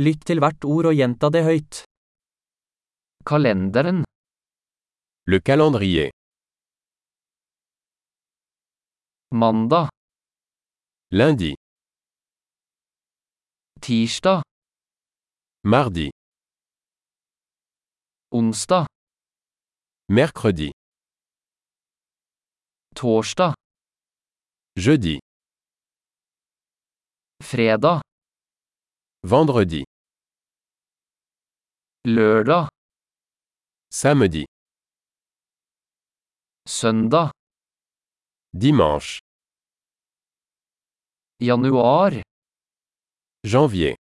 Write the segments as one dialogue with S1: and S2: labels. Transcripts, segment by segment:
S1: Lytt til hvert ord og gjenta det høyt. Kalenderen,
S2: Le calendrier.
S1: mandag,
S2: Lundi,
S1: tirsdag,
S2: mardi,
S1: onsdag,
S2: mercredi,
S1: torsdag,
S2: jeudi,
S1: fredag,
S2: vendredi,
S1: lørdag,
S2: samedi,
S1: søndag,
S2: dimanche,
S1: januar,
S2: janvier,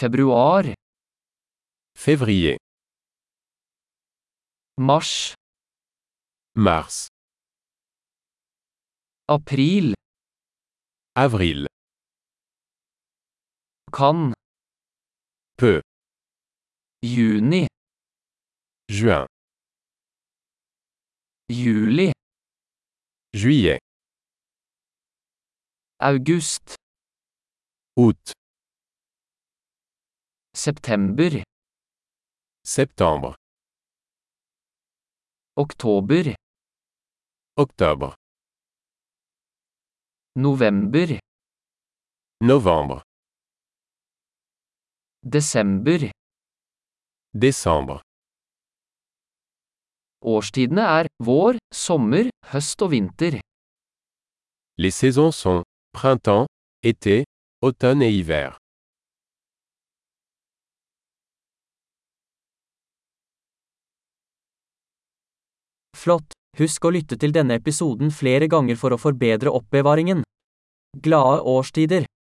S1: februar,
S2: février,
S1: mars,
S2: mars,
S1: april,
S2: avril,
S1: kan,
S2: peu,
S1: juni,
S2: juin,
S1: juli,
S2: juillet,
S1: august,
S2: août,
S1: september,
S2: septembre,
S1: oktober,
S2: octobre,
S1: november,
S2: novembre,
S1: desember.
S2: décembre.
S1: Årstidene er vår, sommer, høst og vinter.
S2: Les saisons sont printemps, été, automne et hiver.
S1: Flott! Husk å lytte til denne episoden flere ganger for å forbedre oppbevaringen. Glade årstider!